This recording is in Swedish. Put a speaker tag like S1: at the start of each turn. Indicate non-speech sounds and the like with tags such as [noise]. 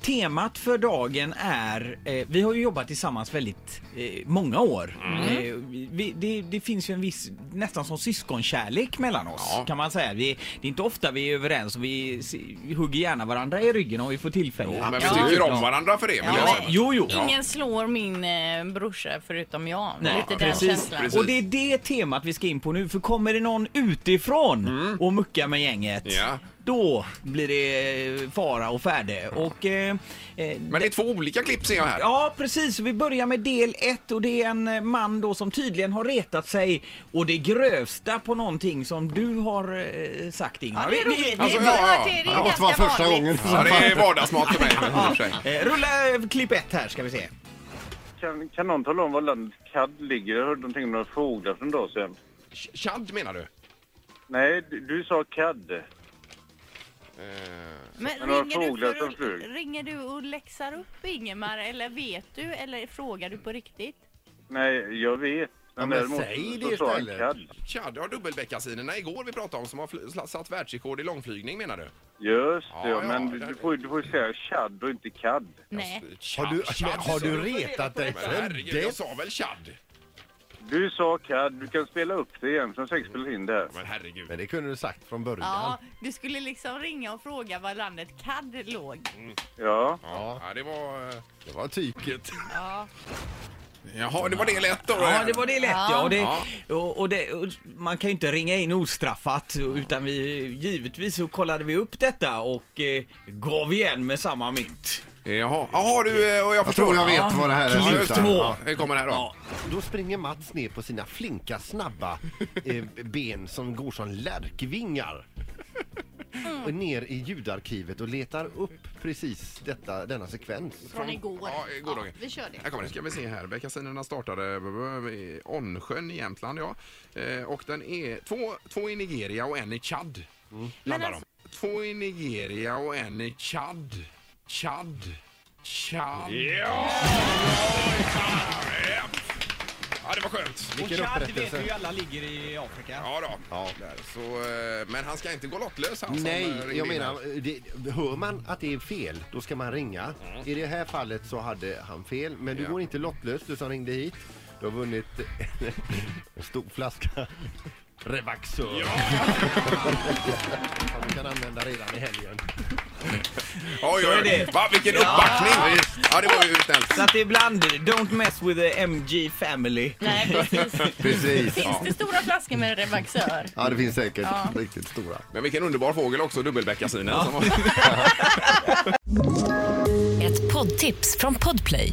S1: temat för dagen är, eh, vi har ju jobbat tillsammans väldigt eh, många år.
S2: Mm.
S1: Eh, vi, det, det finns ju en viss, nästan som syskonkärlek mellan oss
S2: Ja.
S1: kan man säga. Vi, det är inte ofta vi är överens och vi s- hugger gärna varandra i ryggen om vi får tillfälle.
S2: Jo, men vi
S1: Absolut.
S2: tycker om varandra för det. vill jag
S1: Ja,
S2: säga.
S1: jo, jo.
S2: Ja.
S3: Ingen slår min eh, brorsa förutom jag.
S1: Nej,
S3: Lite den
S1: precis,
S3: känslan.
S2: precis.
S1: Och det är det temat vi ska in på nu, för kommer det någon utifrån och muckar med gänget,
S2: Mm. Ja.
S1: då blir det fara och färde. Och, eh, eh,
S2: Men det är två olika klipp ser jag här.
S1: Ja, precis. Vi börjar med del ett och det är en man då som tydligen har retat sig och det grövsta på någonting som du har eh, sagt Ingmar.
S3: Ja, det är roligt.
S2: Alltså,
S3: det, är
S2: ja, ja.
S3: det, är
S2: Det
S4: Det måste
S3: ganska
S4: vara första
S3: vanligt.
S4: gången.
S2: Ja, det är vardagsmat för mig. i och för sig.
S1: Vi- eh, Rulla eh, klipp ett här ska vi se.
S5: Kan, kan någon tala om var landet CAD ligger? Jag hörde någonting om några fåglar för en dag sedan.
S2: Ch- Chad menar du?
S5: Nej, du, du sa CAD.
S3: Men
S5: Men några
S3: ringer
S5: fåglar
S3: du,
S5: som
S3: för,
S5: flög.
S3: att- ringer du och läxar upp Ingemar eller vet du eller frågar du på riktigt?
S5: Nej, jag vet.
S4: Ja, men
S5: däremot
S4: säg
S5: så
S4: det
S5: sa han
S4: istället.
S5: CAD.
S2: Chad har dubbelbeckasinerna igår vi pratade om som har fl- sl- satt världsrekord i långflygning menar du?
S5: Just
S2: Ja,
S5: det, ja,
S2: ja,
S5: men
S2: där-
S5: du, får, ju- du får ju säga CAD och inte CAD.
S3: Nej.
S2: Chad,
S4: Har du,
S2: Chad,
S4: har
S2: sa
S4: du retat dig
S2: Men
S4: själv?
S2: herregud, jag
S4: Det
S2: sa väl Chad?
S5: Du sa CAD. Du kan spela upp det igen, som säkert spelas in det här.
S2: Men herregud.
S4: Men det kunde du sagt från början.
S3: Ja, du skulle liksom ringa och fråga var landet CAD låg.
S5: Ja.
S2: Ja, det var... eh,
S4: Det var tyket.
S3: Ja.
S2: Jaha, det var det lätt då.
S1: Ja, det var det lätt ja. Och, det,
S2: Ja.
S1: och, och, det, och man kan ju inte ringa in ostraffat utan vi, givetvis så kollade vi upp detta och eh, gav igen med samma mynt.
S2: Jaha, Jaha du, eh, och jag
S4: Jag
S2: förstår.
S4: tror jag vet vad det här
S2: Ja, just det.
S4: är.
S2: Ja, det kommer här då.
S1: Ja.
S4: Då springer Mats ner på sina flinka, [laughs] snabba eh, ben som går som lärkvingar.
S3: Mm.
S4: Och ner i ljudarkivet och letar upp precis detta, denna sekvens.
S3: Från igår.
S2: Ja, igår dagen.
S3: vi kör det.
S2: Här kommer det. ska vi se här. Beckasinerna startade i Onnsjön i Jämtland. Ja. Eh, och den är två, två i Nigeria och en i Chad. Landar
S3: alltså-
S2: de. Två i Nigeria och en i Chad. Chad. Chad. Ja! Ja, det var skönt.
S1: Och
S4: Vilken
S1: Chad vet
S4: upprättelse.
S1: vi ju alla ligger i Afrika.
S2: Ja då.
S4: Ja.
S2: Där, så, eh, men han ska inte gå lottlös han som, eh, ringde
S4: Nej, jag
S2: in här.
S4: menar, det, hör man att det är fel, då ska man ringa. I det här fallet så hade han fel, men du
S2: Mm. Ja.
S4: går inte lottlös, du som ringde hit. Du har vunnit [laughs] en stor flaska [laughs] Revaxör. [laughs] Som du kan använda redan i helgen.
S2: Oj,
S1: Så
S2: oj,
S1: är
S2: oj.
S1: det.
S2: Va, vilken uppbackning! Ja, det var ju snällt.
S1: Så att ibland, don't mess with the MG family.
S3: Nej, precis.
S4: Precis.
S3: Finns det stora flaskor med Revaxör?
S4: Ja, det finns säkert riktigt stora.
S2: Men vilken underbar fågel också, dubbelbeckasinen. som var-
S6: Ett poddtips från Podplay.